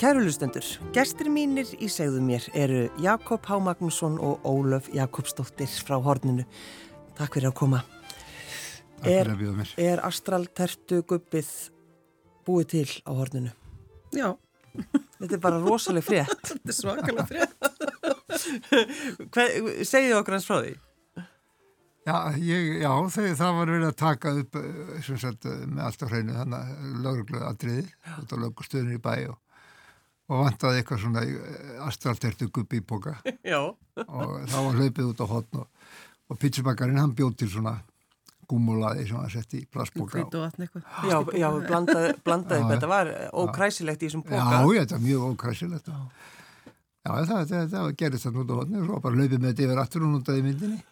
Kæru lustendur, gestir mínir í segðu mér eru Jakob H. Magnússon og Ólöf Jakobsdóttir frá Horninu. Takk fyrir að koma. Takk fyrir að bjóða mér. Er astral tertu gubbið búið til á Horninu? Já, Þetta er bara rosaleg frétt. þetta er svakalega frétt. Hver, segðu okkur hans frá því. Já, ég, já þau, það var verið að taka upp eh, sem sagt, eh, með allt á hreinu þannig að lögreglu aðriði út á lögustöðinu í bæ og, og vantaði eitthvað svona astraltertu gubbi í boka Já. og þá var hlaupið út á hotn og, og pítsubakarinn hann bjóð til svona gúmulaði sem hann setti í plastboka Hvít og vatn eitthvað. Já, já blandaði, blandaði Já, hvað já. þetta var ókræsilegt í þessum póka. Já, ég, þetta er mjög ókræsilegt Já, það, það, það, það gerist þarna út á hotni og svo bara hlaupið með þetta yfir aftur og notaði myndinni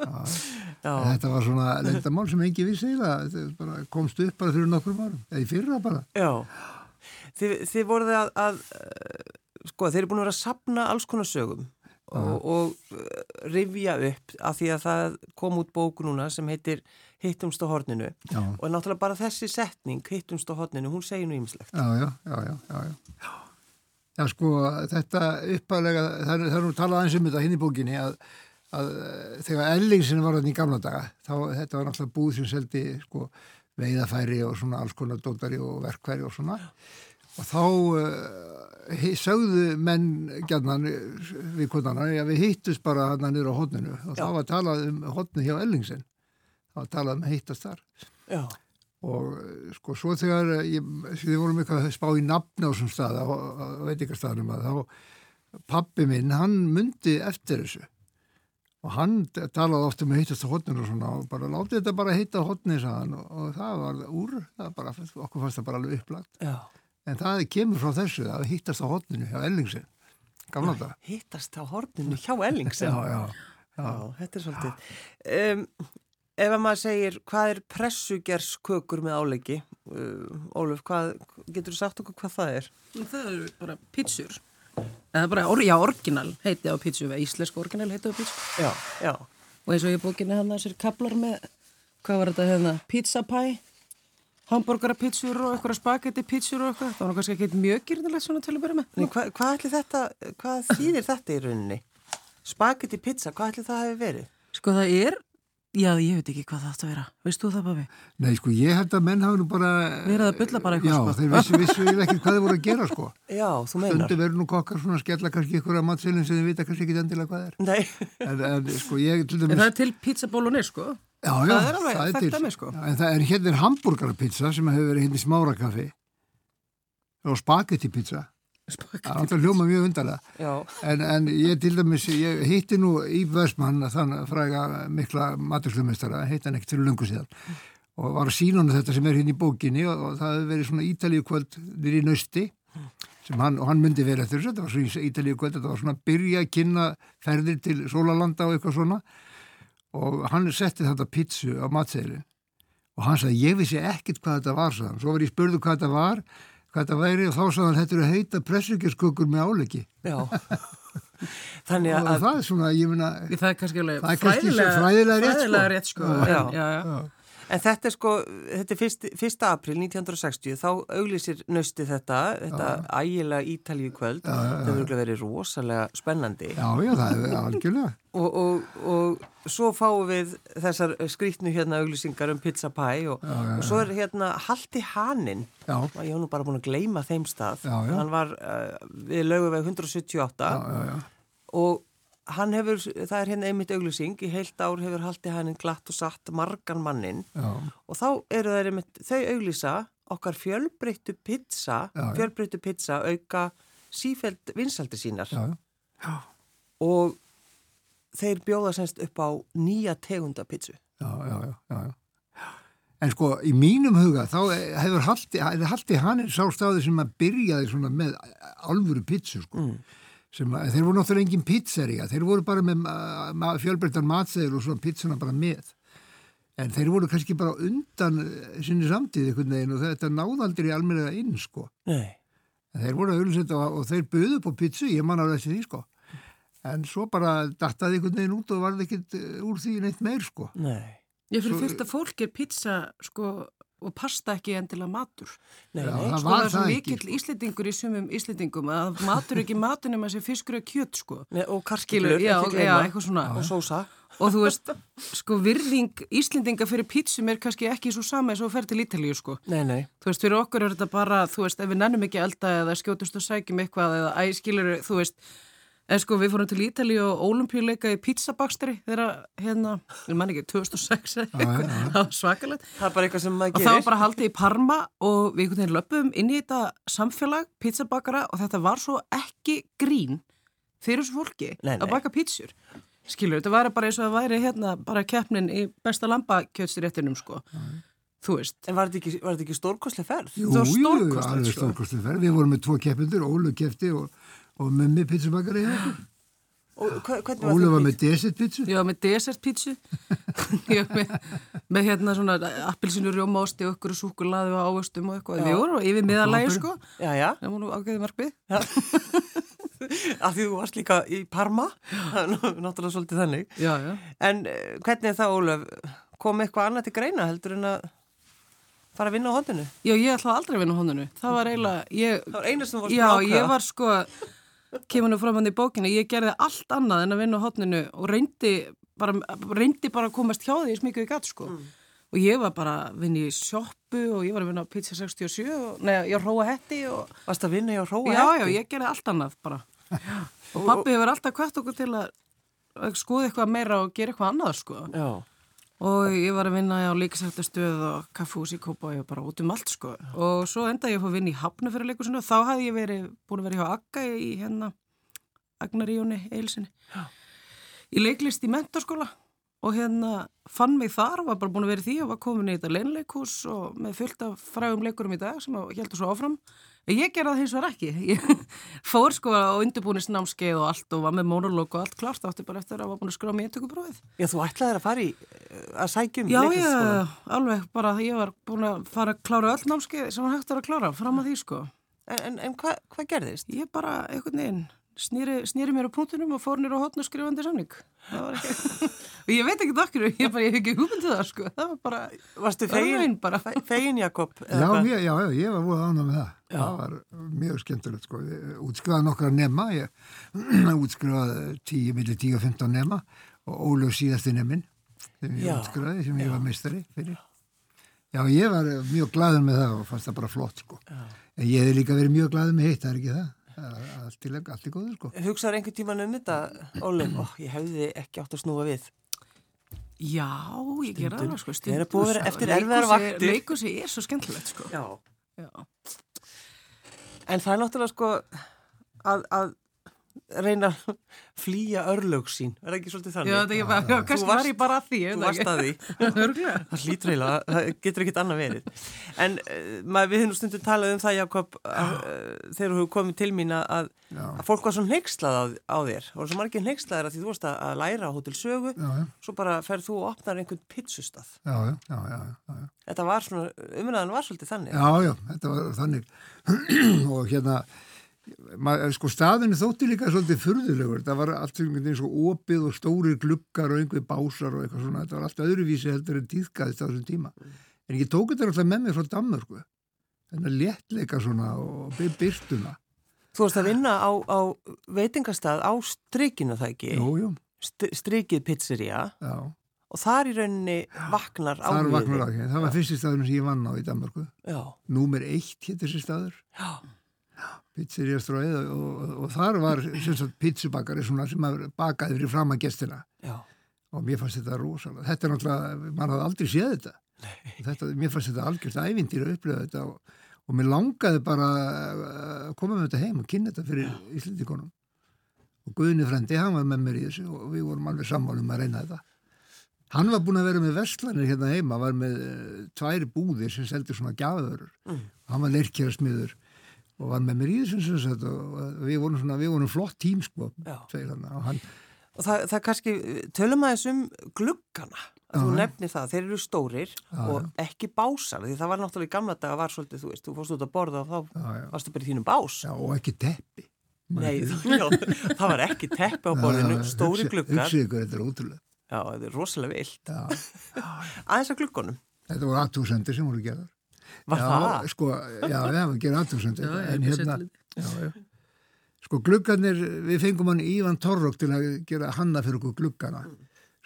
En já, Þetta var svona lendamál sem engi vissi eiginlega, þetta er bara, komst upp bara fyrir nokkrum árum, eða í fyrra bara. já. Þið, þið voruð að, að, eh, sko, þeir eru búin að vera að sapna alls konar sögum og, og eh, rifja upp af því að það kom út bóku núna sem heitir Hittumst á horninu Já. og náttúrulega bara þessi setning, Hittumst á horninu, hún segir nú ímislegt. Já, já, já, já, já, já. Já, sko, þetta uppalega, það er- það er nú talað aðeins um þetta hinn í bókinni að, að eh, þegar Ellingsin var þarna í gamla daga, þá þetta var náttúrulega búð sem seldi, sko, veiðafæri og svona alls konar dótari og verkfæri og svona. Og þá uh, sögðu menn gjarnan eh, við konana, já við hittust bara hann niður á hotninu og Já. þá var talað um hotnu hjá Ellingsen. Það var talað um að hittast þar. Já, Og eh, sko svo þegar eh, ég, þið vorum eitthvað að spá í nafn á þessum stað, á, á veitingastaðnum að þá pappi minn, hann myndi eftir þessu. Og hann t- talaði oft um að hittast á hotninu og svona og bara látið þetta bara hitta á hotninu, sagði hann. Og, og það var úr, það bara, okkur fannst það bara alveg upplagt. já. En það kemur frá þessu að hittast á hotninu hjá Ellingsen. Gamla þetta. Hittast á horninu hjá Ellingsen. Já, já, já. Já, þetta er svolítið. Um, ef að maður segir, hvað er pressugerskökur með áleggi? Uh, Óluf, hvað, getur þú sagt okkur hvað það er? Það eru bara pítsur. Eða bara, or, já, orginal heiti á pítsu, eða íslensk orginal heiti á pítsu. Já, já, Og eins og ég bókinni hann þessir kaplar með, hvað var þetta hérna, pizza pie, hambúrgara pítsur og eitthvað spagetti pítsur og eitthvað. Það var nú kannski ekki mjög gyrnilegt svona til að byrja með. Nei, hva, hvað ætli þetta, hvað þýðir þetta í rauninni? Spagetti pizza, hvað ætli það hefur verið? Sko það er, já, ég veit ekki hvað það átt að vera. Veist þú það, Babi? Nei, sko, ég held að menn hafa nú bara... Verið að bulla bara Já, eitthvað, sko. þeir vissu, vissu eiginlega ekkert hvað þeir voru að gera, sko. Já, þú meinar. Stundu verður nú kokkar svona að skella kannski ykkur að matselin sem þið vita kannski ekki endilega hvað er. Nei, En, en sko, ég til En dæmis... það er til pizza bólunir, sko. já, já, það er alveg þekkt til. dæmi, sko. Já, En það er hérna er hambúrgarapizza sem hefur verið hérna í smárakaffi og spagettipizza. Það er Spagetti. alltaf hljóma mjög undarlega. já, En, en ég til dæmis, ég hitti nú í Vestmann þann fræga mikla maturslumistara, hitti hann ekki til lungu síðan og var að sína hann þetta sem er hérna í bókinni og, og það hefði verið svona ítalíu kvöld í nösti sem hann, og hann myndi verið eftir þessu, þetta var svona ítalíu kvöld, þetta var svona að byrja að kynna ferðir til Sólalanda og eitthvað svona og hann setti þetta pítsu á matseðilin og hann sagði ég vissi ekkit hvað þetta var sagði hann. svo var ég spurðu hvað þetta var hvað þetta væri og þá sagði hann þetta eru heita pressurikirskökur með álegi já. Þannig og að, það er svona, ég minna Það er kannski alveg Það er kannski fræðilega, fræðilega rétt, sko. fræðilega rétt, sko. Já. En- Já, já. en þetta er sko, þetta er fyrst, 1. april 1960, þá auglýsir nösti þetta, þetta ægilega Ítalíu kvöld, þetta verður verið rosalega spennandi. já, já, það er algjörlega og, og, og svo fáum við þessar skrýtnu hérna auglýsingar um pizza pie og, og svo er hérna Halti Hanin Já. ég var nú bara búin að gleyma þeim stað Já, já. hann var uh, við laugaveg 178 já, já. og hann hefur, það er hérna einmitt auglýsing í heilt ár hefur Halti Hanin glatt og satt margan mannin já, og þá eru þeir einmitt, þau auglýsa okkar fjölbreyttu pizza Já, já. fjölbreyttu pizza auka sífæld vinsaldi sínar já, og þeir bjóða semst upp á nýja tegunda pizzu. já, já, já, já, já. En sko, í mínum huga, þá hefur haldi, hefur haldi hann sá staði sem að byrjaði svona með alvöru pítsu, sko. Sem að, þeir voru náttúrulega engin pítserja, þeir voru bara með ma- ma- fjölbreyttan matseður og svona pítsuna bara með. En þeir voru kannski bara undan eh, sinni samtíð einhvern veginn og þetta náðaldri almennilega inn, sko. Nei. En Þeir voru að auðvitað og, og þeir buðu upp á pítsu, ég man alveg eftir því sko. En svo bara dattaði einhvern veginn út og varði ekkert eh, úr því neitt meir sko. Nei. Ég fyrir fullt að fólk er pizza sko og pasta ekki endilega matur. Nei, Já, nei. það sko, var það er svo það ekki, mikill íslendingur í sumum íslendingum að matur er ekki matur nema þessi fiskur eða kjöt sko. Nei, og karskilur, Skilur, já, já, eitthvað svona. og sósa. Og þú veist, sko virðing Íslendinga fyrir pítsum er kannski ekki svo sama eins og þú fer til Ítalíu sko. Nei, nei. Þú veist, fyrir okkur er þetta bara, þú veist, ef við nennum ekki elda eða skjótumst og sækjum eitthvað eða æ, skilur, þú veist, en sko við fórum til Ítalíu og ólimpíuleika í pizzabakstri þegar, hérna, ég man ekki, 2006 eða eitthvað, það var svakalegt. Það er bara eitthvað sem maður Og gerir. það var bara haldið í Parma og við einhvern veginn löpum inn í þetta samfélag pizzabakara og þetta var svo ekki grín fyrir þessu fólki Nei, nei. að baka pizzur. Skilur, þetta var bara eins og það væri hérna bara keppnin í besta lambakjötsréttinum sko. Mm. Þú veist. En var þetta ekki, var þetta ekki stórkoslega ferð? Jú, Það var jú, stórkostlegt, alveg sko. stórkostlegt ferð. Við vorum með tvo keppindur, Ólu kefti og, og Mummi pizzabakari. hjá okkur. Og hva- hvernig var Ólu þín var pizza? með desert pizza. Já, með desertpítsu, já, með, með hérna svona appilsinu rjómásti og okkur súkulaði og ávöstum og eitthvað. Við vorum yfir miðalægi sko, Já, já, það var nú ágæðið markmið. af því þú varst líka í Parma, það er nú- náttúrulega svolítið þannig. Já, já. En eh, hvernig þá, Ólaf, kom eitthvað annað til greina heldur en að fara að vinna á hondinu? Já, ég ætlaði aldrei að vinna á honunu. Það var eiginlega, ég... Það var eina sem þú varst Já, búin að ákveða. ég var sko, kemur nú fram hann í bókinu, ég gerði allt annað en að vinna á hotninu og reyndi bara, reyndi bara að komast hjá því eins mikið við gatt sko. Mm. Og ég var bara að vinna í sjoppu og ég var að vinna á Pizza 67 og, nei, ég róa hetti og... Varst að vinna í að róa Já, já, ég gerði allt annað bara. Og pappi hefur alltaf hvert okkur til að að skoða eitthvað meira og gera eitthvað annað sko. Já, Og ég var að vinna á líkisættastöð og kaffús í Kópa og ég var bara út um allt sko. Og svo endaði ég að fá að vinna í hafnu fyrir leikusinu og þá hafði ég verið, búin að vera hjá Akka í hérna Agnaríjóni Eilsinni. Ég leiklist í mentaskóla og hérna fann mig þar og var bara búin að vera í því og var komin í þetta leinleikus og með fullt af frægum leikurum í dag sem heldur svo áfram. En ég gerði það hins vegar ekki. Ég fór sko á undirbúinisnámskeið og allt og var með monolog og allt klart átti bara eftir að var búin að skrá mér tökubrófið. já, þú ætlaðir að fara í, eh, að sækjum Já, já, alveg bara ég var búin að fara að klára öll námskeið sem hann hægt var að klára fram að því sko. En, en, en hvað hva gerðist? Ég bara einhvern veginn snýri, snýri mér á punktunum og fór nýra á hotn og skrifandi samning. Það var ekki... og ég veit ekki okkur, ég bara, ég hef ekki hugmyndið það sko. Það var bara, Varstu Örvin fegin, bara. fe- fegin Jakob? eða Já, hvað? mér, já, já, ég var voða ánað með það. Það var mjög skemmtilegt, sko. Ég Útskrifaði nokkra nema, ég útskrifaði 10, millir 10 og 15 nema og Ólöf síðasti nemin sem ég Já. útskrifaði, sem ég var meistari fyrir. Já, ég var eh, mjög glaður með það og fannst það bara flott, sko. En ég hef líka verið mjög glaður með hitt, það er ekki það. Það er Allt í, leg- allt í góður, sko. Hugsaður einhvern tíman um þetta, Ólaf? Ó, ég hefði ekki átt að snúa við. já, ég gerði það sko. Þeir eru búið að vera eftir erfiðar vaktir. Leikusi er svo skemmtilegt sko. Já. Já. En það er náttúrulega sko að, að reyna að flýja örlög sín. Er það ekki svolítið Já, þannig? þetta er bara, já, kannski varst- var ég bara að því, ég Þú veit varst það að því. ekki. Örglega. Það hlýtur eiginlega, það getur ekkert annað verið. En uh, maður, við höfum nú stundum talað um það, Jakob, að, uh, þegar þú hefur komið til mín að, að fólk var svo hneykslað á, á þér. Það voru svo margir hneykslaðir að því þú varst að, að læra á hótel sögu, Já, já, svo bara ferð þú og opnar einhvern pizzustað. já, já, já, já, já, já. Þetta var svona, umræðan var svolítið þannig. Já, já, þetta var þannig og hérna maður, sko staðinu þótti líka svolítið furðulegur, það var allt einhvern veginn svo opið og stórir gluggar og einhver básar og eitthvað svona, þetta var allt öðruvísi heldur en týðkaðist á þessum tíma en ég tók þetta alltaf með mér frá Danmörku þennan léttleika svona og by- byrtuna, Þú varst að vinna á, á veitingastað á strikinu það ekki, jú, jú St strikið pizzeria já, og þar í rauninni vaknar á þar vaknar ekki, það var fyrsti staðurinn sem ég vann á í Danmörku, Já, númer eitt hétt þessi staður já, pizzeriastróið og, og, og þar var sem sagt pizzubakari svona sem að bakaði fyrir fram að gestina já. og mér fannst þetta rosalega, þetta er náttúrulega, maður hafði aldrei séð þetta, þetta mér fannst þetta algjörst ævindýr að upplifa þetta og, og mér langaði bara uh, að koma með þetta heim og kynna þetta fyrir Íslandikonum og Guðni Frendi, hann var með mér í þessu og við vorum alveg sammálum að reyna þetta hann var búin að vera með vestlanir hérna heima, var með eh, tvær búðir sem seldi svona gjafavörur og hann var leirkjærasmiður og var með mér í þessu sem sagt, og og við vorum, svona, við vorum flott tím sko, Já. segir hann, og hann Og það, það kannski, tölum aðeins um gluggana, að þú nefnir það, þeir eru stórir og ekki básar, því það var náttúrulega í gamla daga var svolítið, þú veist, þú fórst út að borða og þá Já, já. varstu bara í þínum bás. já, og ekki teppi Nei, já, það var ekki teppi á borðinu, stóri gluggar, Hugsið ykkur, þetta er ótrúlega. já, þetta er rosalega vilt. Já, Aðeins að gluggunum. þetta voru aðtúsendir sem voru gerðar. Var það? sko, já, já, við gerum aðtöksend Já, já, en ég hérna, setti já, já sko, gluggarnir, við fengum hann Ívan Torrok til að gera hanna fyrir okkur gluggana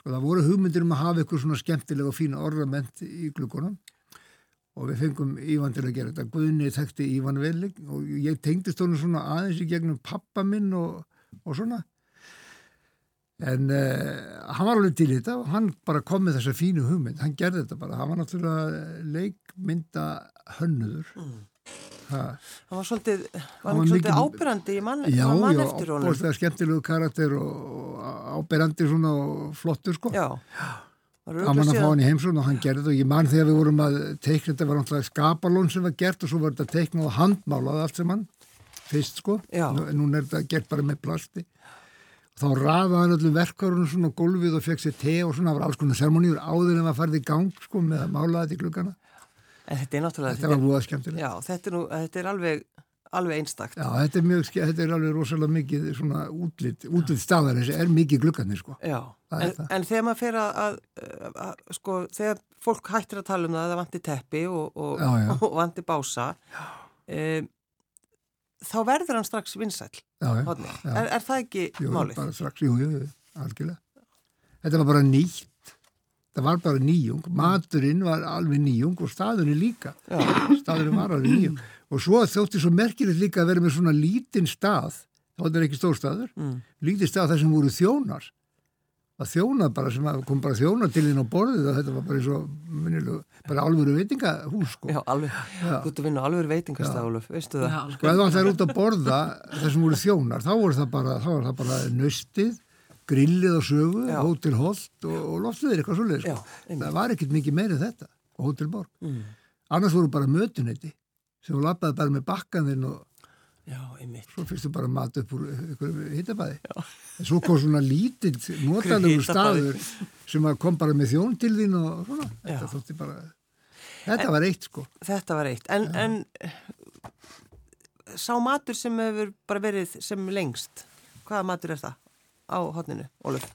sko, það voru hugmyndir um að hafa ykkur svona skemmtilega og fína ornament í gluggunum og við fengum Ívan til að gera þetta Guðni þekkti Ívan vel og ég tengdist honum svona aðeins í gegnum pappa minn og, og svona en uh, hann var alveg til í þetta og hann bara kom með þessa fínu hugmynd hann gerði þetta bara, hann var náttúrulega leikmynda hönnuður mm. Hann var svolítið, var Hann hann var ekki svolítið mikil- ábyrrandi í mann, já, mann já, eftir honum. bóðslega skemmtilegu karakter og, og áberandi svona og flottur sko Já, var gaman að fá síðan- hann í heimsókn og hann gerði þetta og ég man þegar við vorum að teikna þetta var náttúrulega skapalón sem var gert og svo var þetta teiknað og handmálað allt sem hann fyrst sko, Já. Nú- núna er þetta gert bara með plasti og þá rafaði hann öllum verkarunum svona á gólfið og fekk sér te og svona það var alls konar sermoníur áður en að farið í gang sko með að mála þetta í gluggana En þetta er náttúrulega, þetta var búið skemmtilegt já, þetta er, nú, þetta er alveg, alveg einstakt. Já, þetta er, mjög, ske- þetta er alveg rosalega mikið svona útlitt, útlitt staðar þessi er mikið gluggarnir sko. Já, Það er en, það. en þegar maður fer að, að, að, að sko, þegar fólk hættir að tala um það að það vanti teppi og, og, Já, já. og vanti bása, um, þá verður hann strax vinsæll, Já, já. hodni. Já. Er, er það ekki Jú, málið? bara strax, jú, jú, jú, algjörlega. Þetta var bara nýtt. Það var bara nýjung. Maturinn var alveg nýjung og staðurinn líka. Já. Staðurinn var alveg nýjung. Og svo þótti svo merkilegt líka að vera með svona lítinn stað. þá er ekki stór staður. Mm. Lítinn stað þar sem voru þjónar. Það þjónað bara sem að kom bara þjónar til inn á borðið og þetta var bara eins og minnilegu, bara alvöru veitingahús sko. Já, alveg, þú ert að vinna á alveg veitingastáluf, veistu það? Já, Sko ef það er út að borða það sem voru þjónar, þá voru það bara, þá var það bara nöstið, grillið og sögu, Já. hótel Holt og, og loftsliðir eitthvað svoleiðis. Já, sko. einmitt. Mm. það var ekkert mikið meirið þetta, og hótel Borg. Annars voru bara mötunetti sem þú lappaði bara með bakkan þinn og Já, einmitt. svo fyrstu bara mat upp úr einhverju hittabæði. En svo kom svona lítill, notalegur Hitabaði. staður sem að kom bara með þjón til þín og svona. Já. Þetta þótti bara, þetta var eitt sko. Þetta var eitt, en, en eh, sá matur sem hefur bara verið sem lengst, hvaða matur er það á hodninu, Óluf?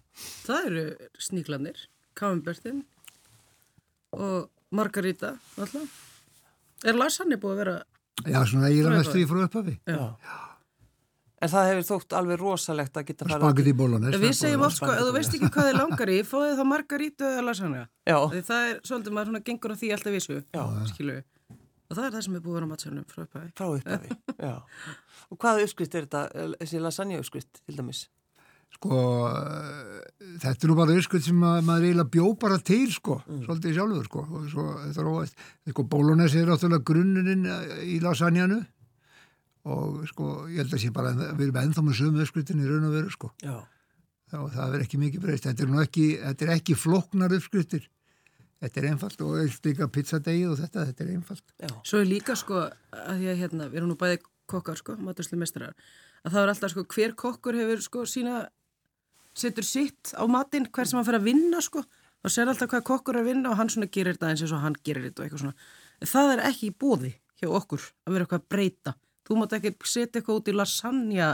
Það eru sníklanir, kaumbertin og margarita alltaf. Er lasagne búið að vera, Já, svona ég er að mestu í frá upphafi. Já. En það hefur þótt alveg rosalegt að geta farið Spagetti bólanes. við segjum oft sko, ef þú veist ekki hvað þið langar í, fáðu þá margarita eða lasagne. Já, Því það er svolítið, maður svona gengur að því alltaf vissu, Já. skilu. Og það er það sem er búið að vera á matsælunum frá upphæði. frá upphafi. Já. Og hvaða uppskrift er þetta, eh, þessi lasagna uppskrift til dæmis? sko, eh, þetta er nú bara yrskut sem að, maður eiginlega bjó bara til sko, svolítið sjálfur sko og svo, þetta er óvægt, sko, bólónes er áttúrulega grunnurinn eh, í lasagnanu og sko, ég held að sé bara að við erum ennþá með sömu yrskutinu í raun og veru sko Já. og það verður ekki mikið breyst, þetta er nú ekki þetta er ekki flóknar uppskutir þetta er einfalt og eins líka pizzadegið og þetta, þetta er einfalt Já. Svo er líka sko að því að hérna, við erum nú bæði kokkar sko, maturslu mestrar, að það er alltaf sko hver kokkur hefur sko sína, setur sitt á matinn, hver sem hann fer að vinna sko, og sér alltaf hvað kokkur er að vinna og hann svona gerir þetta eins og hann gerir þetta og eitthvað svona. En Það er ekki í bóði hjá okkur að vera eitthvað að breyta. Þú mátt ekki setja eitthvað út í lasagna,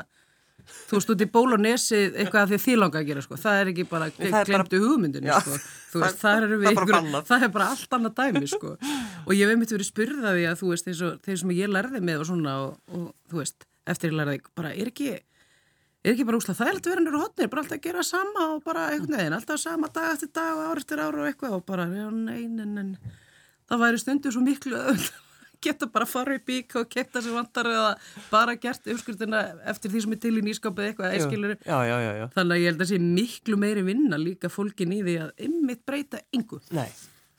þú veist, út í bólunesið eitthvað að því að þið langar að gera sko. Það er ekki bara, það er bara- glemtu hugmyndinu Já. sko. Þú veist, Það- þar eru það við er bara einhver, bannað. það er bara allt annað dæmi sko og ég hef einmitt verið spurða því að þú veist eins og þeir sem ég lærði með og svona og, og þú veist eftir ég lærði bara er ekki er ekki bara úslega þægilegt að vera nýra hotnir bara alltaf að gera sama og bara Mm. einhvern veginn alltaf sama dag eftir dag og ár eftir ár og eitthvað og bara já nei nei nei það væri stundu svo miklu öll geta bara farið í bík og kepta sem vantar eða bara gert uppskurðina eftir því sem er til í nýskapið eitthvað æskilur Já, já, já, já. þannig að ég held að sé miklu meiri vinna líka fólkin í því að ymmit breyta yngu Nei.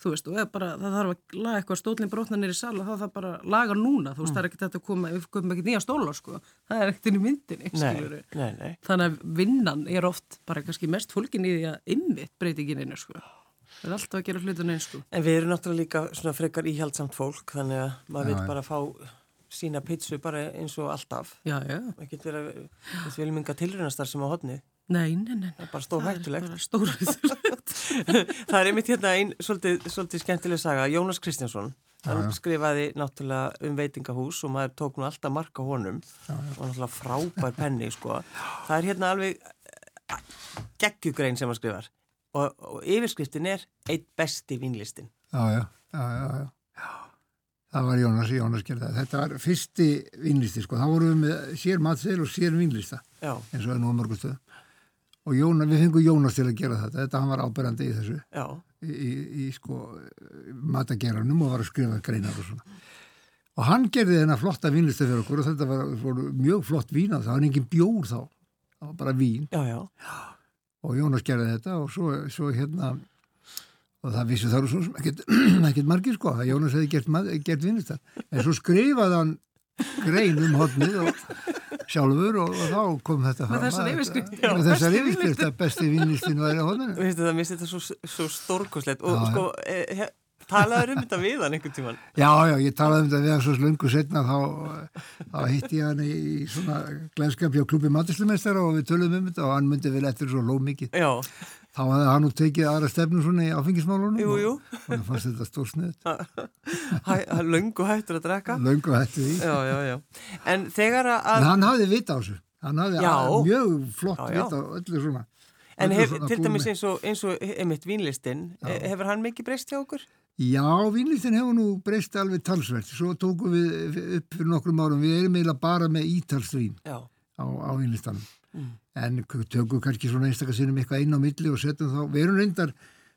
þú veist, og eða bara það þarf að laga eitthvað stólinn brotna nýri sala, þá þarf það bara að laga núna, þú veist, það er ekkert hægt að koma, við komum ekki nýja stóla, sko, það er ekkert inn í myndinni, Nei, skilur við. nei, nei. Þannig að vinnan er oft bara kannski mest fólkin í því að ymmit breytingininu, sko. Það er alltaf að gera hlutun eins, sko. En við erum náttúrulega líka svona frekar íhjaldsamt fólk, þannig að maður vil bara fá sína pizzu bara eins og alltaf. Já, já. Ekkert vera, við viljum yngar tilrunastar sem á hodni. Nei, nei, nei. Það er bara stórhættulegt. Bara stórhættulegt. það er einmitt hérna einn svolítið, svolítið skemmtileg saga, Jónas Kristjánsson hann skrifaði náttúrulega um veitingahús og maður tók nú alltaf marka honum og náttúrulega frábær penni sko. það er hérna alveg eh, geggjugrein sem hann skrifar og, og yfirskriftin er eitt besti vínlistin já, já, já, já, já. Já. það var Jónas, Jónas gerði það. Þetta var fyrsti vinlisti, sko. Þá vorum við með sér matseil og sér vinlista já, eins og er nú á mörgum stöðum. Og Jónas, við fengum Jónas til að gera þetta. Þetta hann var áberandi í þessu, já, í, í, í sko matageranum og var að skrifa greinar og svona. Og hann gerði þennan flotta vinlista fyrir okkur og þetta var, voru mjög flott vín að það var engin bjór þá. Það var bara vín já, já, og Jónas gerði þetta og svo, svo hérna og það vissi þar og svo sem ekkert, ekkert margir sko að Jónas hefði gert, ma- gert vinnustar en svo skrifaði hann grein um hodnið og sjálfur og, og þá kom þetta fram Með þessar að- yfirskrift, já, með þessar besti yfirskrift að besti vinnustin væri á hodninu Veistu, það misti þetta svo, svo stórkoslegt og Já, já. sko, e, he, talaður um þetta við hann einhvern tíman já já ég talaði um þetta við hann svo löngu setna þá, þá hitti ég hann í svona glenskapja á klubi maturslumestara og við töluðum um þetta og hann myndi vel eftir svo ló mikið Já, þá hafði hann nú tekið aðra stefnum svona í áfengismálunum jú, jú, og hann fannst þetta stór sniðt hæ, hæ, löngu hættur að drekka löngu hætti því Já, já, já En þegar að, en hann hafði vita á þessu hann hafði Já. a- mjög flott Já, já. vita á öllu svona en öllu hef, svona til búinu. dæmis eins og, eins og einmitt vínlistin, e, hefur hann mikið breyst hjá okkur? já, vinlistin hefur nú breyst alveg talsvert svo tókum við upp fyrir nokkrum árum við erum eiginlega bara með ítalsvín Já, á, á vinlistanum Mm. en k- tökum kannski svona einstakarsinnum eitthvað inn á milli og setjum þá, við erum reyndar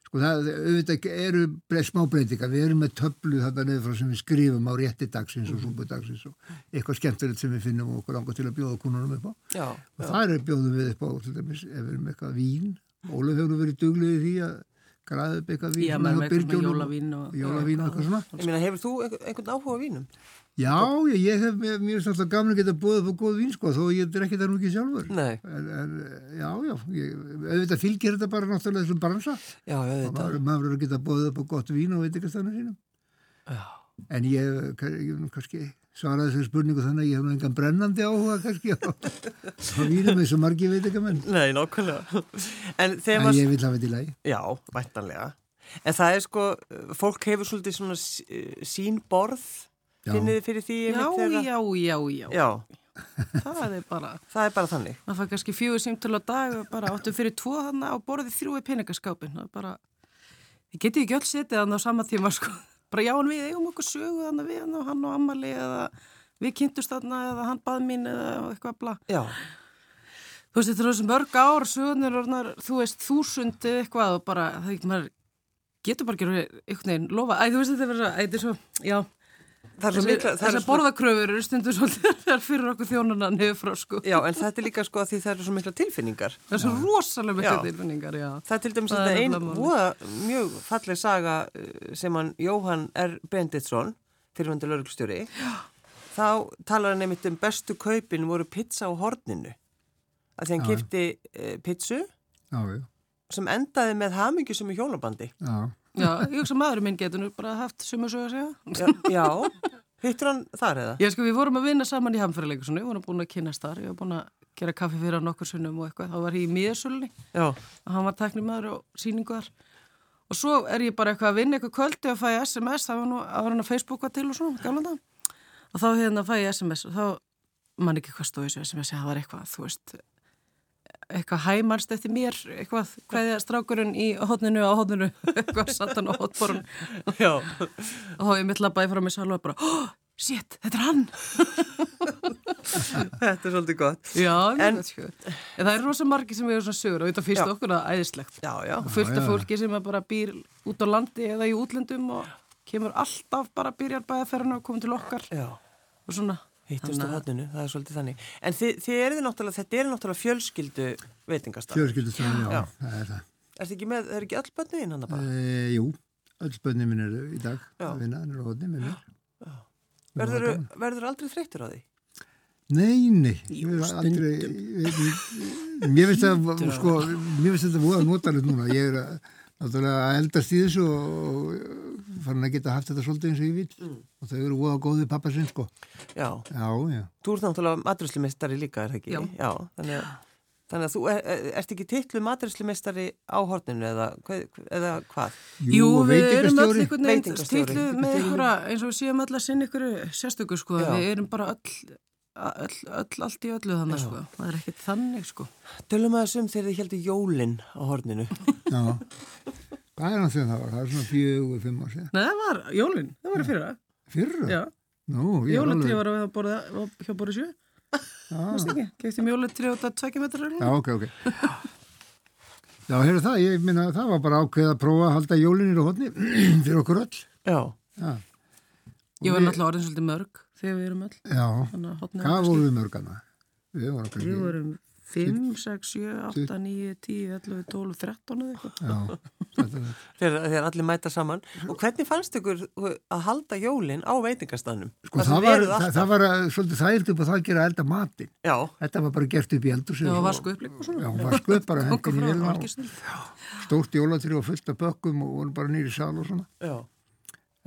sko það, auðvitað eru bre- smá breytinga, við erum með töflu þarna niður frá sem við skrifum á rétti dagsins og súpudagsins og eitthvað skemmtilegt sem við finnum og okkur langar til að bjóða kununum upp á já, og já, þar er bjóðum við upp á til dæmis, ef við erum með eitthvað vín Ólaf hefur nú verið duglið í því að græða upp eitthvað vín Já, svona hjá með- með eitthvað Birgjón og- jólavín og- jólavín og eitthvað svona Ég meina, hefur þú einhvern, einhvern áhuga á vínum? já, ég, ég hef mér, mér er samt að gaman að geta búið upp á góð vín sko, þó ég drekki það nú ekki sjálfur Nei, en, en já, já, ég, auðvitað fylgir þetta bara náttúrulega þessum bransa já, já, Og þetta maður, maður er að geta búið upp á gott vín og veitingastæðinu sínum Já, en ég, hef- ég hef nú kannski svaraði þessari spurningu þannig að ég hef nú engan brennandi áhuga kannski á, á vínum eins og margi veitingamenn nei, nákvæmlega En þegar en maður, ég vil hafa þetta í lagi já, væntanlega En það er sko, fólk hefur svolítið svona s- eh, sín borð Já. Finnið þið fyrir því Já, einmitt þegar- já, já, já, já, það er bara, það er bara þannig maður fær kannski fjögur símtölu á dag og bara áttum fyrir tvo þarna og borðið þrjúi peningaskápin, það er bara, ég geti ekki öll setið þarna á sama tíma, sko, bara já, en við eigum okkur sögu þarna við hann og hann og ammali eða við kynntust þarna eða hann bað mín eða eitthvað bla. Já, Þú veist, þetta eru þessi mörg ár, sögurnir orðnar, þú veist, þúsund eða eitthvað og bara, það ekki, maður getur bara ekki orðið einhvern veginn lofa. Æ, þú veist, þetta er verið, æ, þetta er svo, já, það er svo þessi, mikla það er þessar svo- borðakröfur eru stundur svolítið þar fyrir okkur þjónuna niður frá, sko. Já, en þetta er líka sko að því það eru svo mikla tilfinningar Það er svo rosalega Já. mikið tilfinningar, já. Það er til dæmis Það þetta er ein nefnilega málið. voða mjög falleg saga eh, sem hann Jóhann R. Benditsson, fyrirvendur lauruglustjóri, þá talar hann einmitt um bestu kaupin voru pizza á horninu. Af því hann Já, já. kipti uh, pizzu Já, já, sem endaði með hamingi sem í hjónabandi. já. Já, ég hugsa maðurinn minn getur nú bara haft sumu sög að segja. Já, já hittur hann þar eða? Já, sko, við vorum að vinna saman í hamfæraleikusunni, við vorum búin að kynast þar, ég var búin að gera kaffi fyrir hann okkur sunnum og eitthvað, þá var ég í miðasölunni. Já, og hann var teknimaður og síningu þar og svo er ég bara eitthvað að vinna eitthvað kvöldi og fæ ég SMS, það var nú að vera hann að Facebooka til og svona, gamla það og þá hérna fæ ég SMS og þá mann ekki hvað stóði þessu SMS, það var eitthvað þú veist, eitthvað hæmarst eftir mér, eitthvað hvaðið strákurinn í hótninu á hótninu eitthvað satan á hótborun já, og þá ég mitt labbaði frá mig sjálf og bara, oh, shit, þetta er hann þetta er svolítið gott. já, En- en, en það er rosa margi sem við erum svona sögur og þetta fyrst Já. okkur að æðislegt Já, já, og fullt já. af fólki sem er bara býr út á landi eða í útlendum og kemur alltaf bara byrjar bæðaferðinu og komið til okkar já. og svona Hittust á Þannig að- horninu, það er svolítið þannig. En þið, þið eru náttúrulega, þetta eru náttúrulega fjölskyldu veitingastaf. fjölskyldustæðan, já, Já. það er það. Er þið ekki með, það eru ekki öll bönnu inn hann bara? E, jú, öll spönnið minn eru í dag Já. að vinna, hann er hóðni með mér. Nú var Verður, gaman. verður aldrei þreyttur á því? Nei, nei, Jú, ég hef aldrei, ég, mér finnst það, Stundum. sko, mér finnst þetta voða notalegt núna, ég er að, náttúrulega að eldast í þessu og fann að geta haft þetta svolítið eins og ég vil Mm. og þau eru voða góðið pappa sinn, sko. Já, Já, já. þú ert náttúrulega matrislimestari líka, er það ekki? Já. þannig, að, þannig að þú er, er, ert ekki titlu matrislimestari á horninu eða, hvað- eða hvað? Jú, og við erum öll veitingastjóri. einhvern veginn Veitingastjóri. stilluð með einhverja, eins og við séum öll að sinna ykkur sérstöku sko, Já. við erum bara öll, öll, öll, allt í öllu þannig sko, það er ekkert þannig sko. Tölum að þessum þegar þið heldur jólinn á horninu. Já. um Hvað er hann þegar það var? Það er svona fjögur, fimm ár sér. Nei, það var Jólin, það var í fyrra. Fyrra? Já, Nú, ég er jólatri alveg... var að borða var hjá borða sjö, Ah. veist ekki, kefti jólatri á þetta tvekja metrar Já, ok, ok. Já, heyrðu það, ég minna að það var bara ákveð að prófa að halda jólinir á hodni fyrir okkur öll. Já, Já, Ég var náttúrulega orðin svolítið mörg þegar við erum öll. já. Þannig að hotnaði hvað voru við mörgana? Við vorum kannski... Við vorum 5, 6, 7, 8, 9, 10, 11, 12, 13 eða eitthvað. Já, þetta sko, er þegar, þegar allir mæta saman og hvernig fannst ykkur að halda jólin á veitingastannum? Sko það var, það, það var uh, svolítið þægilt upp að það gera að elda matinn. Já, Þetta var bara gert upp í eldur. Já, var sko upplik og svona. Já, var skuð bara Tóku hendin í frá, vilna var og ekki snill. stórt jólatri og fullt af bökkum og voru bara nýri sal og svona. já,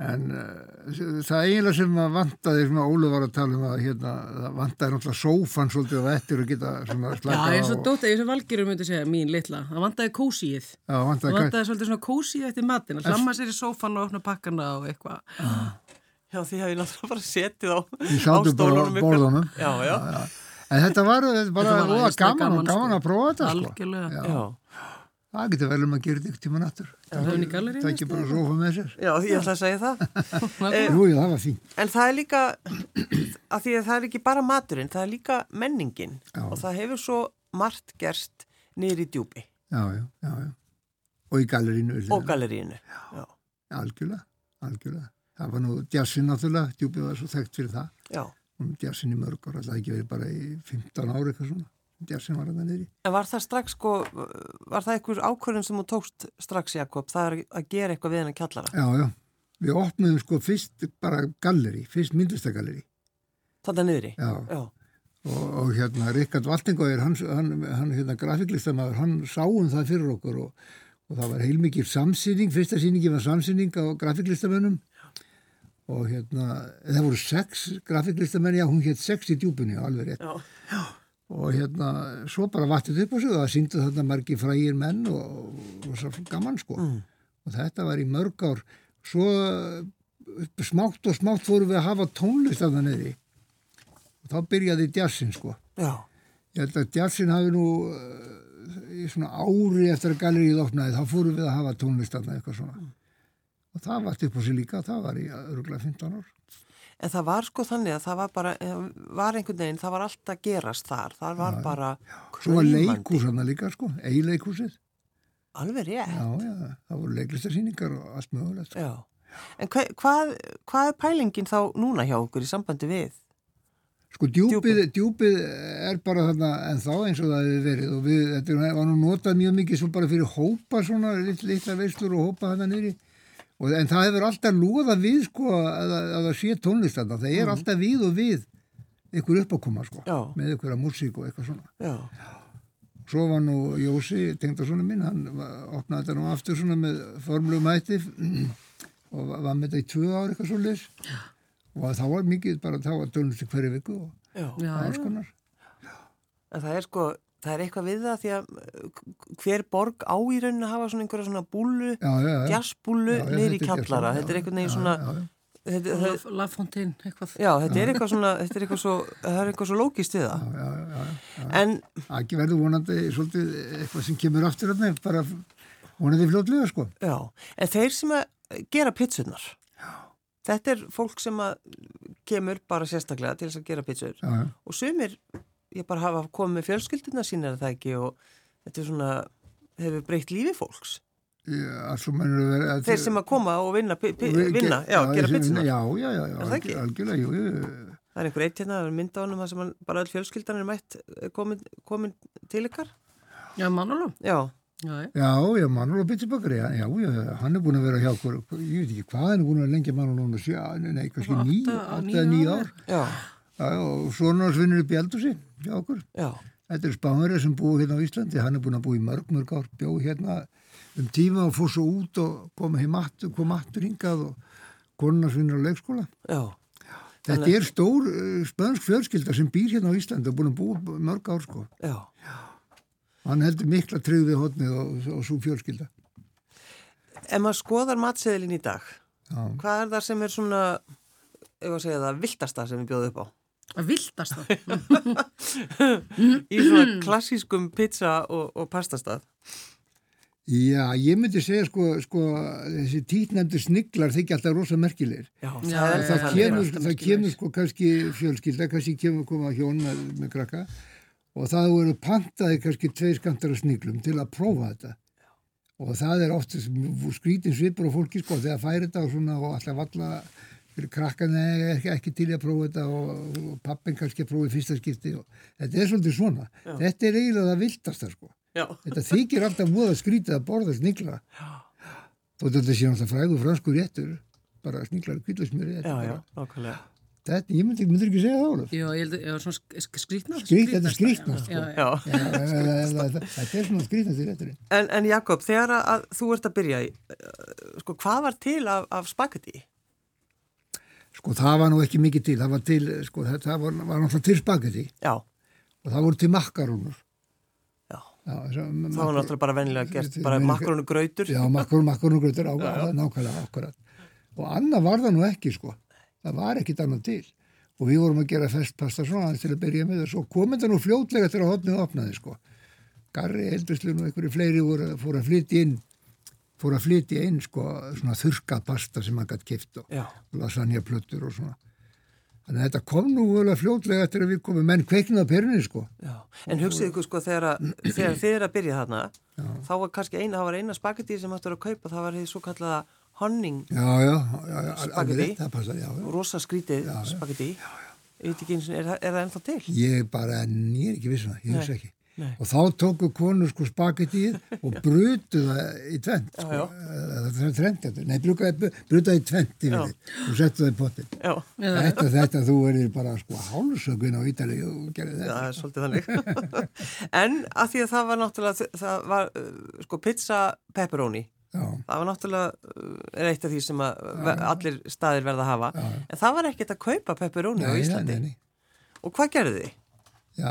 En uh, það eiginlega sem að vantaði, sem að Ólu var að tala um að hérna, það vantaði náttúrulega sófan svolítið á ettir og geta svona Já, slakað eins á. og dótt, eins og valgjurum myndi segja, mín litla, það vantaði kósíið. Já, Það vantaði hvað? vantaði svolítið svona kósíið eftir matin, að hlamma sér í sófan og opna pakkana og eitthvað. já, því hafði náttúrulega bara setið á, á sátum bara á stólunum ykkur. borðunum. Já, já, En þetta var uh, bara Þetta var óa, æðislega gaman gaman, og gaman sko. að prófa þetta sko. Algjörlega. Já. já. Það getur vel um að gera þetta ykkur tíma nattur. Það var inn í galleríinu, Það ekki bara sófa með sér. Já, ég ætla að segja það. Nákvæmlega. Jú, já, það var fínt. En það er líka, að því að það er ekki bara maturinn, það er líka menningin Já. og það hefur svo margt gerst niður í djúbi Já, já, já, já. Og í gallerínu. við og hliðina. gallerínu. Já, Algjörlega, algjörlega. Það var nú djassin náttúrulega, djúpið var svo þekkt fyrir það. já. um djassin í mörg ára, það ekki verið bara í 15 ári eitthvað svona, djassin var þetta niður í. En var það strax sko, var það einhver ákvörðun sem þú tókst strax, Jakob, það er að gera eitthvað við hennar kjallara? Já, já, við opnaðum sko fyrst bara galleri, fyrst myndlistagalleri, Þetta niðri? já, Já, og, og hérna Rikard Valtingóðir, hann, hann, hann hérna grafíklistamæður, hann sáum það fyrir okkur og, og það var heilmikið samsýning, fyrsta sýningi var samsýning á grafíklistamennum og hérna, það voru sex grafíklistamenn, já, hún hétt sex í djúbunni, alveg rétt. já, og hérna, svo bara vattið upp á sig og það syngdu þarna margi frægir menn og, og svo gaman sko Mm. og þetta var í mörg ár svo upp- smátt og smátt fórum við að hafa tónlist af það niðri og þá byrjaði djassin sko já, ég held að djassin hafi nú eh, í svona ári eftir að gallerið opnaði þá fórum við að hafa tónlist af það eitthvað svona og það vattið upp á sig líka það var í örgulega 15 ár En það var sko þannig að það var bara, eh, var einhvern veginn, það var allt að gerast þar, það var bara svo var kraumandi. leikús hann líka sko, eigileikúsið Alveg rétt, já já, það voru leiklistarsýningar og allt mögulegt sko. já. En hva, hvað, hvað er pælingin þá núna hjá okkur í sambandi við? Sko djúpið, djúpið er bara þarna en þá eins og það hefur verið og við, þetta er- var nú notað mjög mikið svo bara fyrir hópa svona, lit- litla veislur og hópa þarna niðri og, en það hefur alltaf loða við sko að, að, að það sé tónlist þarna, það er alltaf við og við ykkur uppákoma sko Já. með ykkur að músík og eitthvað svona Já, Svo var nú Jósi, tengdarsonu minn, hann va- opnaði þetta nú aftur svona með formlu mæti og va- var með þetta í tvö ár eitthvað svo leis og þá var mikið bara þá að tónlist í hverju viku og já. Já, alls konar. En það er sko, það er eitthvað við það því að eh, hver borg á í rauninu hafa svona einhverja svona búlu, Já, já, já. jazzbúlu Já, já, niður í þetta er gert kjallara. Þetta svona, er já, einhvern veginn já, svona, já, já. þetta, það, La- La Fontaine, eitthvað. já, þetta er eitthvað svona, þetta er eitthvað svo, það er eitthvað svo lókist við það. Já, já, já. En, Aki verður vonandi svolítið eitthvað sem kemur aftur af mig, bara vonandi fljótlega sko. já, en þeir sem að gera pitsunar, þetta er fólk sem að kemur bara sérstaklega til þess að gera pitsur. Já, já. og sumir ég bara hafa komið með fjölskylduna sína er það ekki og þetta er svona hefur breytt lífi fólks Alls og mennur verið að... þeir sem að koma og vinna, pi, pi, vinna já, gera sem- pitsuna Já, já, já, já, Er það ekki? algjörlega, jú, jú. það er einhver eitt hérna, það er mynd á honum þar sem hann, bara all fjölskyldan er mætt eh, komin, komin til ykkar Já, mannalum. já, Já, já. Já, já, Manuel Bittibakari, já, já, já, hann er búin að vera hjá okkur, ég veit ekki hvað hann er búin að vera lengi Manuel núna, sjá, nei, kannski Átta- níu, níu átta eða níu ár. ár. já, Já, já, og svona svinnur upp í eldursi hjá okkur. já, Þetta er Spánverið sem búið hérna á Íslandi, hann er búin að búið í mörg, mörg ár, bjó hérna um tíma og fór svo út og kom heim aftur, kom aftur hingað og konunars vinnur á leikskóla. já Þetta er stór eh, spönsk fjölskylda sem býr hérna á Íslandi og búin að búa í mörg ár sko. já, Hann heldur mikla tryggð við hotnið og, og svo fjölskylda. en maður skoðar matseðilin í dag Já. hvað er það sem er svona ef að segja það, viltasta sem við bjóðum upp á Að viltast það. í svona klassískum pizza og, og pastastað Já, ég myndi segja sko, sko þessi títnæmdu sniglar þykja alltaf rosa merkilegir. Já, það Það, er það, alltaf kemur, merkilegir. það kemur sko kannski fjölskylda, kannski kemur koma hjón með, með krakka og það voru pantaði kannski tveir skantar af sniglum til að prófa þetta. Og það er oft skrítin svipur á fólki sko þegar færi þetta og svona og alltaf alla fyrir krakkan ekki, ekki til í að prófa þetta og, og pappin kannski að prófa í fyrsta skipti og þetta er svolítið svona. Þetta er eiginlega það viltasta sko. Já, Þetta þykir alltaf múða skrítið að borða snigla. Þó þetta sé alltaf frægur franskur réttur, bara sniglar kvillasmjöri. já, Þetta, er já, bara- nákvæmlega. þetta, ég myndi, myndir ekki segja það, Ólaf. Já, ég held að, já, svona sk- skrýtnast. Skrýt- þetta er skrýtnast, Já, sko. já, já. Já. Eða- eða- eða- eða- Þetta er svona skrítnasti rétturinn. En, en Jakob, þegar að, að þú ert að byrja, í, eh, sko, hvað var til af, af spagetti? Sko það var nú ekki mikið til, það var til, sko það, það var, var náttúrulega til spagetti Já, og það voru til makkarúnur. já. Já, Það var náttúrulega bara vennilega gert, bara Meina- makrónu grautur. Já, makkarún, makkarún gröður á, á, nákvæmlega akkurat. Og annað var það nú ekki, sko. Það var ekkit annað til. Og við vorum að gera festpasta svona aðeins til að byrja með þess og komið það nú fljótlega til að hotnið opnaði, sko. Garri, Eldurslun og einhverju fleiri voru, fóru að flytja inn, fóru að flytja inn, sko, svona þurkað pasta sem hann gætt kipt og, Já. og lasagna plöttur og svona. Þannig að þetta kom nú völu fljótlega til að við komum menn kveiknað á perunni, sko. Já. En hugsið ykkur sko þegar, að, þegar þið er að byrja þarna, þá var kannski eina, það var eina spagetti sem hættur að kaupa, það var þið svo kallaða honning, Já, já, já, já, Spagetti. alveg rétt, það passar, já, já. Mm. rosa skrítið spagetti. Ég veit ekki eins og er, það- er það ennþá til? Ég bara, en ég er ekki viss um það, ég hugsa ekki. nei. Og þá tóku konur sko spagettíð og brutu það í tvent, sko. já. Eh, Það er tvent þetta. Nei, brutu það í tvent yfir þig og settu það í pottin. Já, Þetta, þetta, þú erir bara sko hálsökun á Ítalíu og gerir þetta. það er svolítið þannig. en að því að það var náttúrulega, það var uh, sko pizza pepperoni, Já, það var náttúrulega uh, er eitt af því sem að, uh, allir staðir verða að hafa, en það var ekkert að kaupa pepperoni á Nei, Íslandi. nei, nei. Og hvað gerði þið? Já,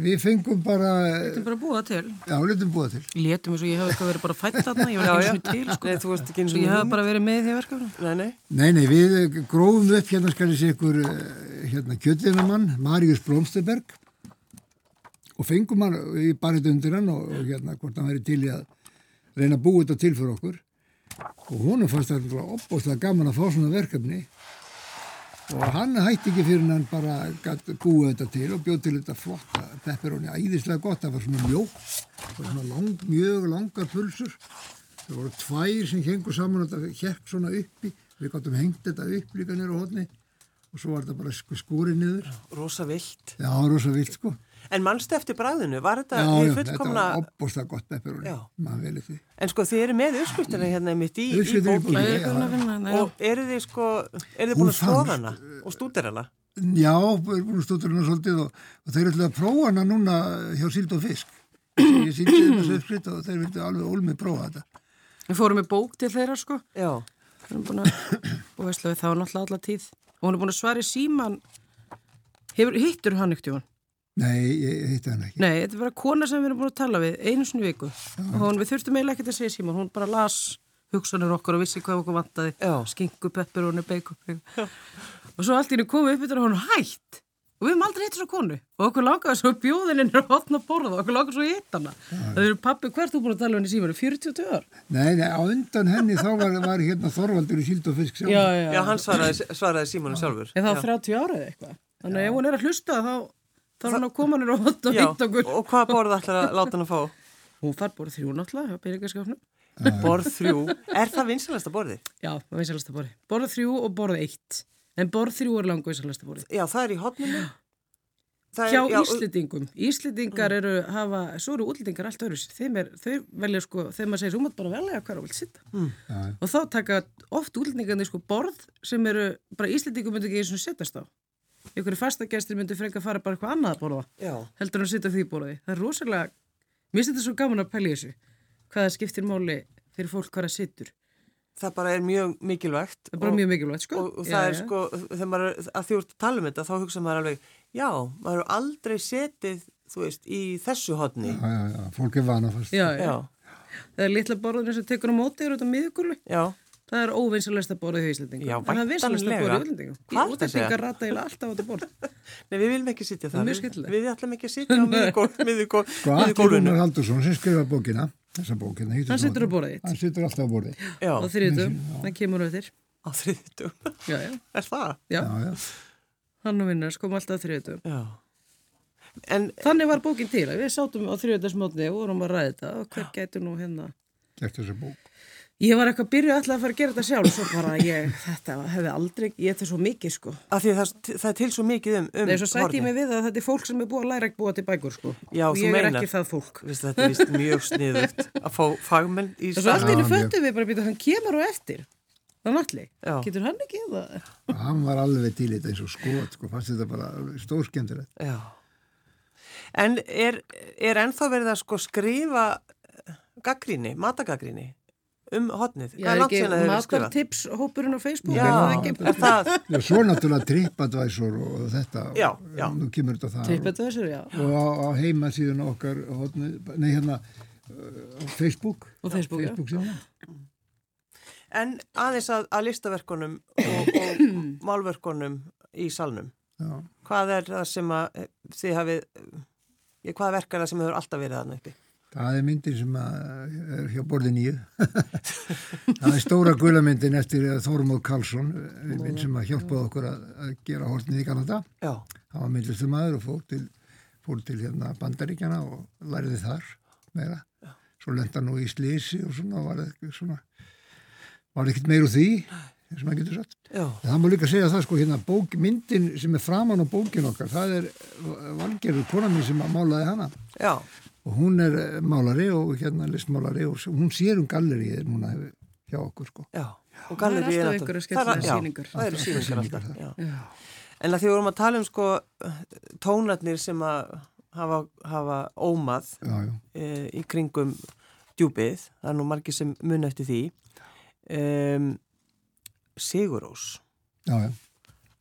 við fengum bara, Þetta er bara búið það til. já, hlutum búa til. Létum eins og ég hef eitthvað verið bara fætt þarna, ég var Já, já. ekki eins og til, sko. Nei, þú varst ekki einu Svo sinni ég hef hugmynd. bara verið með í því verkefni. Nei, nei, Nei, nei, við grófum upp hérna skal ég segja ykkur eh, hérna kjöldinamann, Marius Blomsterberg og fengum hann í barið undir hann og, og hérna hvort hann verið til í að reyna að búa þetta til fyrir okkur og honum fannst það náttúrulega opbóðslega gaman að fá svona verkefni og hann hætti ekki fyrir hann bara gat búið þetta til og bjóð til þetta flotta pepperoni, æðislega gott, það var svona mjók og svona lang, mjög langar pulsur Það voru tvær sem hengur saman og þetta hérk svona uppi. Við gáttum hengt þetta upp líka nýra hóðni og svo var þetta bara sk- skúrið niður. rosa vilt. Já, rosa vilt sko. En mannstu eftir bræðinu, var þetta Já, hið já, þetta fullkomna, var opbúrslega gott pepperoni. Já. Maður vel eftir. en sko þið eru með uppskriftina hérna mitt í, í Uppskriftin í Já, bókinni bókinni. ég hef verið að vinna þarna, já. og eru þið sko, eru þið Hún búin að fannst, skoða hana og stúdera hana? Já, við erum búin að stóttur hana svolítið og, og þeir ætlaði að prófa hana núna hjá síld og fisk. Ég síndi þeim þessu uppskritt og þeir vildi alveg ólmið prófa þetta. Við fórum með bók til þeirra, sko. Já, Við erum búin að, og veistlega við þá náttúrulega alla tíð. Og hún er búin að svara í síman, hefur, hittur hann ykti hún? Nei, ég ég hitti hana ekki. Nei, þetta er bara kona sem við erum búin að tala við einu sinni í viku. Og hún, við þurftum eiginlega ekkert að segja síman, hún bara las hugsanir okkar og vissi hvað okkur vantaði. Já. Skingu, peppur, hún er Og svo allt í henni komið upp yfir hún hætt. Og við höfum aldrei hitt svo konu. Og okkur langaði svo bjóðininn er hotna að borða og okkur langaði svo að hitt hana. Það eru pappi, hvert þú búin að tala um við henni síman? 42 ár? Nei, nei, á undan henni þá var, var hérna Þorvaldur í síld og fisk sjálf. já, hann svaraði, svaraði Símonu sjálfur. Er það 30 ára eða eitthvað? Þannig að ef hún er að hlusta þá þá er hann að koma hann og hótt og Já, hitt okkur. og hvað borð ætlar að láta hana fá? Hún far bara þrjú náttúrulega, hjá byrjingarskapnum. Borð þrjú, er það vinsalasta borðið? Já, það er vinsalasta borði. Borð þrjú og borð eitt. En borð þrjú er langu vinsalasta borði. Já, það er í hotninu. Það Hjá er- já, Mm. Íslendingum. Íslendingar eru, hafa, svo eru útlendingar allt öðru. Þeim er, þau velja sko, þegar maður segir, þú mátt bara velja hver og vilt sitta. Mm. Já, já. Og þá taka oft útlendingarnir sko borð sem eru, bara Íslendingum myndi ekki eins og sittast á. Ykkur fastagestir myndi freka fara bara eitthvað annað að borða. Já, heldur hann að sitja á því borði. Það er rosalega, mér finnst þetta svo gaman að pæla í þessu, hvað það skiptir máli fyrir fólk hvað það situr. það bara er mjög mikilvægt. Það er bara og- mjög mikilvægt, sko. og, og það Já, er já. sko, þegar maður, að því úr að tala um þetta, þá hugsa maður alveg, já, maður hefur aldrei setið, þú veist, í þessu hotni. Já, já, já, fólk er vanafast. Já, já. Já, Það er litla borðinu sem tekur á móti er út á miðugurlu. já, Það er óvinsalesta borðið í Íslandingum. Já, En það er vinsalasta væntanlega. borðið í Íslandingum. Hvað ertu að segja? Útlendingar rata eiginlega alltaf á þetta borð. Nei, við viljum ekki sitja er það. mjög Við, skemmtilegt. við ætlum ekki að sitja á Sko, Atli miðugólfinu. Rúnar Haldursson sem skrifa bókina, þessa bókina. heitir Hann svona- situr á borðið þitt. Hann situr alltaf á borðið. Já, Á þriðutum, hann kemur á þér. á þriðutum. Já, já, Er það? já. Já, já. Hann og vinnars kom alltaf á þriðutum. Já. En Þannig var bókin til. að Við sátum á þriðutasmotni og vorum að ræða þetta og hver gætu nú hérna. Gert þessa bók. Ég var eitthvað byrjuð alltaf að fara að gera þetta sjálf, svo bara ég, þetta hefði aldrei, ég þetta er svo mikið sko. af því að það, það er til svo mikið um, um Nei, svo sætti ég mig við að þetta er fólk sem er búið að læra ekki búa til bækur sko. Já, og þú ég er meinar. ekki það fólk. Vistu, þetta er vist mjög sniðugt að fá fagmenn í Og svo allt í salinn. Já, mjög. henni föttum við bara að býta, hann kemur á eftir. Þannig allir. Já. Getur hann ekki eða? Hann var alveg til í þetta eins og skot, sko, fannst þetta bara stórskemmtilegt. Já. En er, er ennþá verið að sko skrifa gaggríni, matagaggríni um hodnið? Já, er langt ekki síðan að þeir eru skrifað? matartips hópurinn á Facebook? Já, er það ekki? er það, Já, svo náttúrulega trippadvæsor og þetta. Já, já. Nú kemur þetta það. Trippet þessur, já. Og á, á heimasíðun okkar, hóðni, nei hérna, uh, á Facebook. Og Facebook, já. Facebook síðan. en aðeins að, að listaverkunum og, og málverkunum í salnum. Já. Hvað er það sem að eh, þið hafið, eh, hvað verkar það sem hefur alltaf verið þarna uppi? Það er myndir sem að eh, er hjá borði nýju. það er stóra gulamyndin eftir eh, Þormóð Karlsson, eh, minn sem að hjálpaði okkur að, að gera hortnið í Kanada. Já, hann var myndlistu maður og fór til, fór til hérna bandaríkjana og læriði þar meira. Svo lenda nú í slísi og svona var, ekki- svona, var ekkert meir úr því, eins og maður getur satt. já, En það má líka segja það sko, hérna bók, myndin sem er framan á bókin okkar, það er eh, valgerður kona mín sem að málaði hana. já, Og hún er eh, málari og hérna listmálari og s- hún sér um gallerið núna hjá okkur sko. já. Og Það er galleríið alltaf náttúrulega- einhverjar það er- skemmtilegar já, sýningar. Það eru síningar sýningar, alltaf, það. já. Já. En að því við vorum að tala um sko tónarnir sem að hafa, hafa ómað Já, já. e, í kringum djúpið, það er nú margir sem mun eftir því. Um, Sigurós Já, já.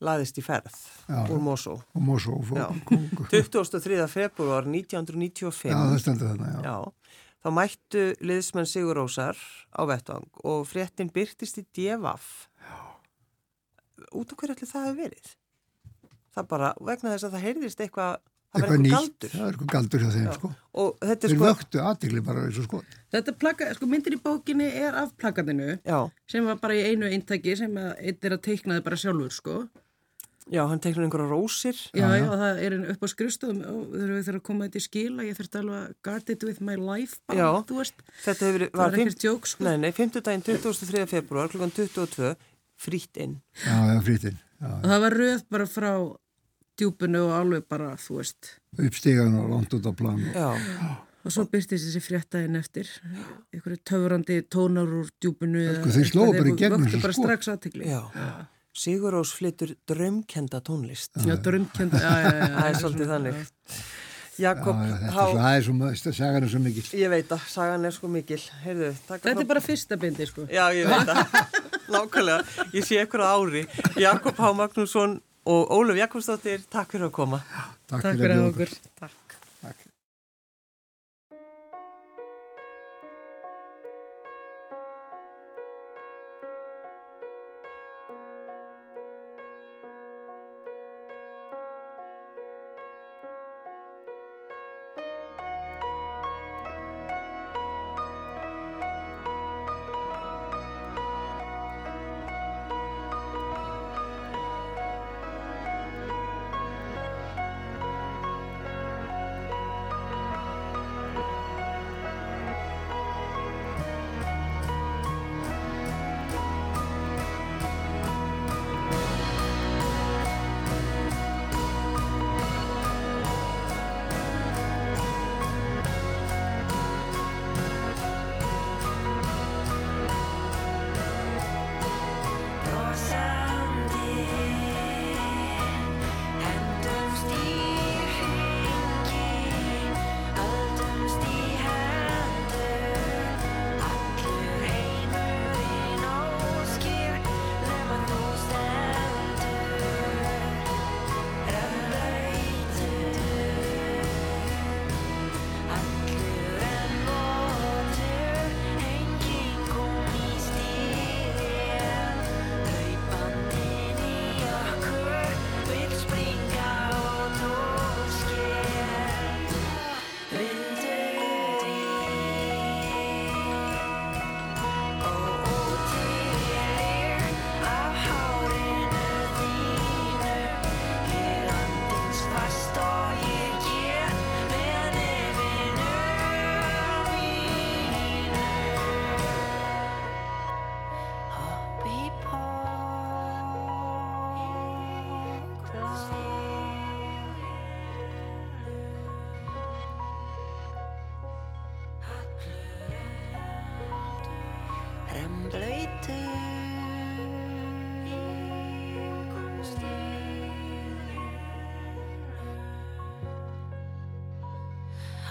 laðist í ferð Já. úr Mosó Og Mosó fór. Já. kom- kom- 23. februar 1995. Já, það stendur þarna, já. Já, þá mættu liðsmenn Sigur Rósar á vettvang og fréttin byrtist í DFF. Já. Út af hverju allir það hefur verið? Það bara, vegna þess að það heyrðist eitthvað, það var Eitthvað eitthvað nýtt. galdur. Það er eitthvað galdur hjá þeim sko. Og þetta er Þeir sko, vöktu aðtikli bara eins og skot. Þetta plaka, sko myndir í bókinni er af plakatinu já, sem var bara í einu eintaki sem að eitt er að teikna þið bara sjálfur sko. já, hann teiknur einhverja rósir. Já, já, það er einn upp á skrifstöðum og þurfum við þurfum að koma þetta í skila, ég þurfti alveg að guard it with my life, band, Já. þú veist. Þetta hefur, Það var ekkert djók, sko. Nei, nei, 5. daginn 23. februar, klukkan 22, frýtt inn. Já, já, frýttin. Og það var röð bara frá djúpinu og alveg bara, þú veist. Uppstígan og langt út á plan. og- Já, Og svo byrtist þessi fréttaðin eftir, einhverju töfrandi tónar úr djúpinu. eða Sko, þeir slógu eitthvað, bara í gegnum sko. vöktu þessu bara skot. strax aðtegli. já. Sigur Rós flyttur draumkenda tónlist. Já, drömkjönd, já, já, já. Það er svolítið þannig. Já, Jakob, já, þetta Há- er svo, það er svo, mö- sagan er svo mikið. Ég veit að sagan er svo mikil. Heyrðu, takk Þetta er bara fyrsta bindi, sko. Já, ég veit að. Nákvæmlega. Ég sé ykkur á ári. Jakob Há Magnússon og Óluf Jakobsdóttir, takk fyrir að koma. Takk, Takk fyrir bjóða að okkur. Takk. Takk.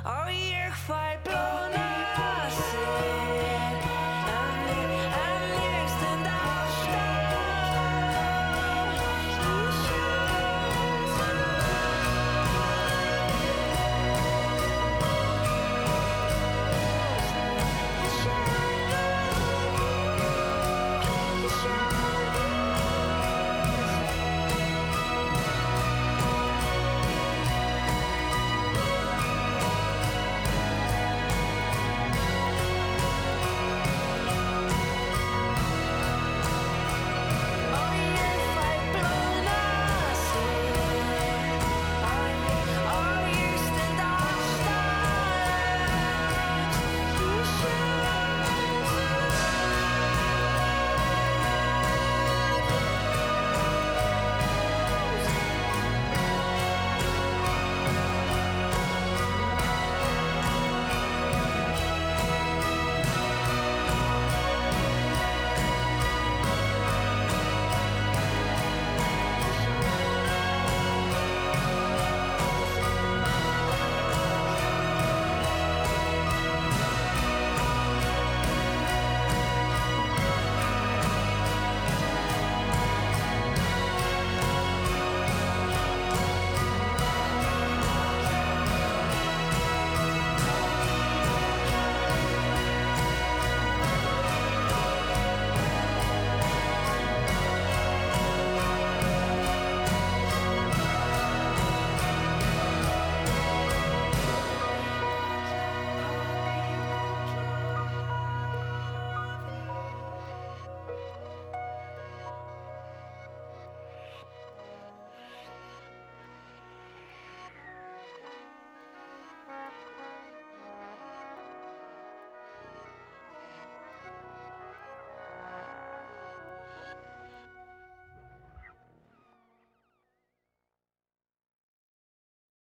og ég fæ blóð